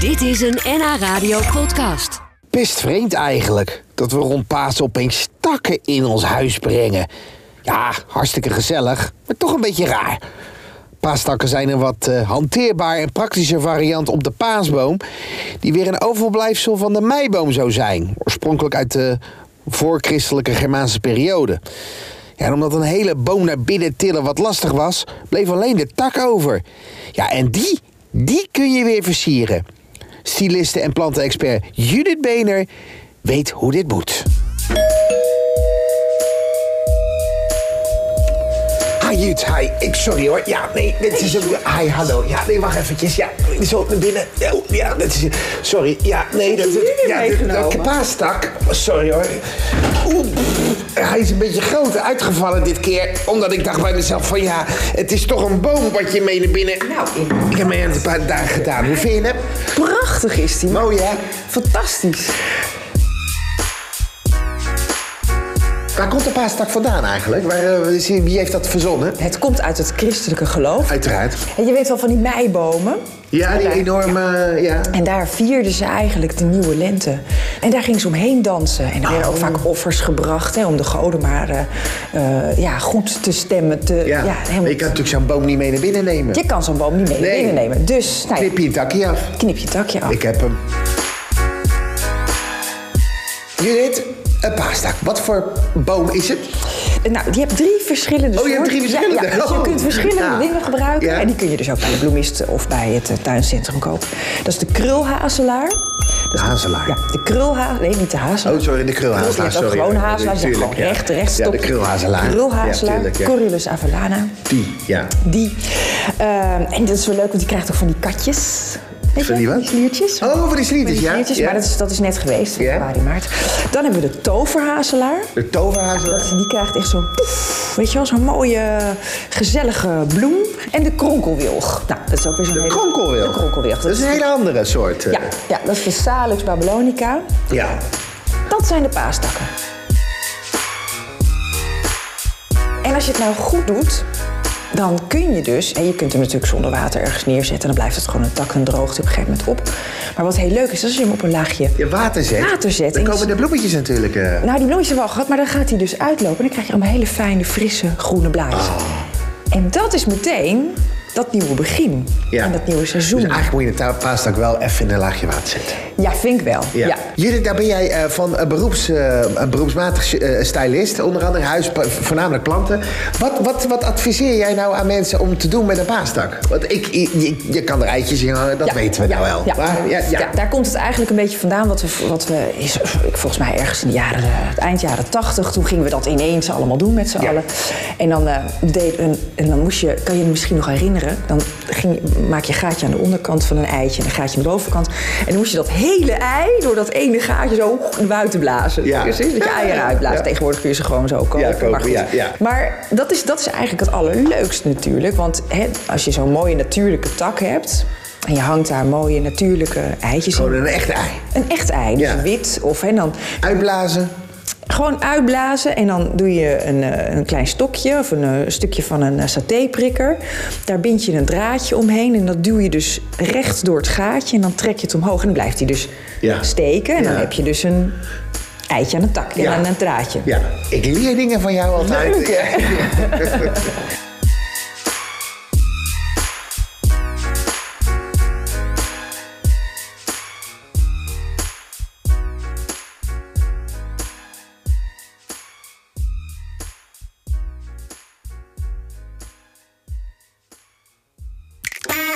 Dit is een NH Radio podcast. Best vreemd eigenlijk dat we rond Pasen opeens takken in ons huis brengen. Ja, hartstikke gezellig, maar toch een beetje raar. Paastakken zijn een wat eh, hanteerbaar en praktischer variant op de paasboom... die weer een overblijfsel van de meiboom zou zijn. Oorspronkelijk uit de voorchristelijke Germaanse periode. Ja, en omdat een hele boom naar binnen tillen wat lastig was... bleef alleen de tak over. Ja, en die, die kun je weer versieren. Styliste en plantenexpert Judith Bener weet hoe dit moet. Hi Jut, hi. Ik, sorry hoor. Ja, nee, dit is een... Hi, hallo. Ja, nee, wacht eventjes. Ja, zo naar binnen. Oh, Ja, dat is... Sorry. Ja, nee, dat is... Ja, dat- dat paastak. Sorry hoor. Oeh, pff, hij is een beetje groot uitgevallen dit keer. Omdat ik dacht bij mezelf van ja, het is toch een boom wat je mee naar binnen... Nou, ik heb mee een paar dagen gedaan. Hoe vind je het? Prachtig is die. Mooi hè? Fantastisch. Waar komt de paastak vandaan eigenlijk? Waar, eh, is hij- wie heeft dat verzonnen? Het komt uit het christelijke geloof. Uiteraard. En je weet wel van die meibomen. Ja, die enorme... eh, Ja. En daar vierden ze eigenlijk de nieuwe lente. En daar gingen ze omheen dansen. En er Oh. werden ook vaak offers gebracht hè, om de goden maar eh, eh, ja, goed te stemmen. Te, Ja, helemaal- ik kan natuurlijk zo'n boom niet mee naar binnen nemen. Je kan zo'n boom niet mee naar Nee. binnen nemen. Dus nou, ja, Knip je een takje af. knip je takje af. Ik heb hem. Judith, een paastak. Wat voor boom is het? Nou, je hebt drie verschillende Oh, je hebt soorten. drie verschillende. Ja, ja, dus je Oh. kunt verschillende Ja. dingen gebruiken. Ja. En die kun je dus ook bij de bloemist of bij het eh, tuincentrum kopen. Dat is de krulhazelaar. De hazelaar. Ja, de krulha... Nee, niet de hazelaar. Oh, sorry, de krulhazelaar. Je hebt ook Sorry. gewoon hazelaar. Je hebt Tuurlijk, gewoon ja. recht, recht, Ja, stop. de krulhazelaar. Krulhazelaar, Ja, tuurlijk, ja. Corylus avellana. Die, ja. Die. Ehm, en dat is wel leuk, want die krijgt ook van die katjes. Weet Van je, die wat? sliertjes. Oh, van die sliertjes, Van die ja, sliertjes, ja. maar dat is, dat is net geweest, Ja. februari, maart. Dan hebben we de toverhazelaar. De toverhazelaar. Die krijgt echt zo'n poef, weet je wel, zo'n mooie, gezellige bloem. En de kronkelwilg. Nou, dat is ook weer zo'n De hele... kronkelwilg. De kronkelwilg. Dat is een hele andere soort. eh. Ja, ja, dat is de Salix babylonica. ja. Dat zijn de paastakken. En als je het nou goed doet, dan kun je dus... En je kunt hem natuurlijk zonder water ergens neerzetten. Dan blijft het gewoon een tak en droogt hij op een gegeven moment op. Maar wat heel leuk is, is als je hem op een laagje... Je water zet. Water zet. Dan En- komen de bloemetjes natuurlijk. eh. Nou, die bloemetjes hebben we al gehad, maar dan gaat hij dus uitlopen. En dan krijg je allemaal hele fijne, frisse, groene blaadjes. Ah. En dat is meteen dat nieuwe begin. Ja. En dat nieuwe seizoen. Dus eigenlijk moet je de ta- paastak wel even in een laagje water zetten. Ja, vind ik wel. Ja. Judith, daar ben jij eh, van eh, beroeps, eh, een beroepsmatig eh, stylist, onder andere huis, voornamelijk planten. Wat, wat, wat adviseer jij nou aan mensen om te doen met een paastak? Want ik, ik- je, je kan er eitjes in hangen, dat Ja, weten we ja, nou wel. Ja. Maar, ja, ja. Ja, daar komt het eigenlijk een beetje vandaan. Wat we, wat we is, ik, volgens mij ergens in de jaren, eh, het eind jaren tachtig, toen gingen we dat ineens allemaal doen met z'n Ja. allen. En dan, eh, deed een, en dan moest je, kan je je misschien nog herinneren, dan ging, je- maak je een gaatje aan de onderkant van een eitje en een gaatje aan de bovenkant. En dan moest je dat hele ei door dat ene gaatje zo naar buiten blazen. Ja. Dus, hè, dat je Ja, ei ja, eruit blaast. ja. Tegenwoordig kun je ze gewoon zo kopen. kopen, maar goed. ja, ja. Maar dat is, dat is eigenlijk het allerleukste natuurlijk. Want hè, als je zo'n mooie natuurlijke tak hebt. en je hangt daar mooie natuurlijke eitjes Gewoon in. een echt ei. Een echt ei, dus Ja. wit. Of hè, dan Uitblazen. gewoon uitblazen en dan doe je een, eh, een klein stokje of een eh, stukje van een eh, satéprikker. Daar bind je een draadje omheen en dat duw je dus recht door het gaatje. En dan trek je het omhoog en dan blijft hij dus Ja. steken. En dan Ja. heb je dus een eitje aan een tak en Ja. aan een draadje. Ja, ik leer dingen van jou altijd.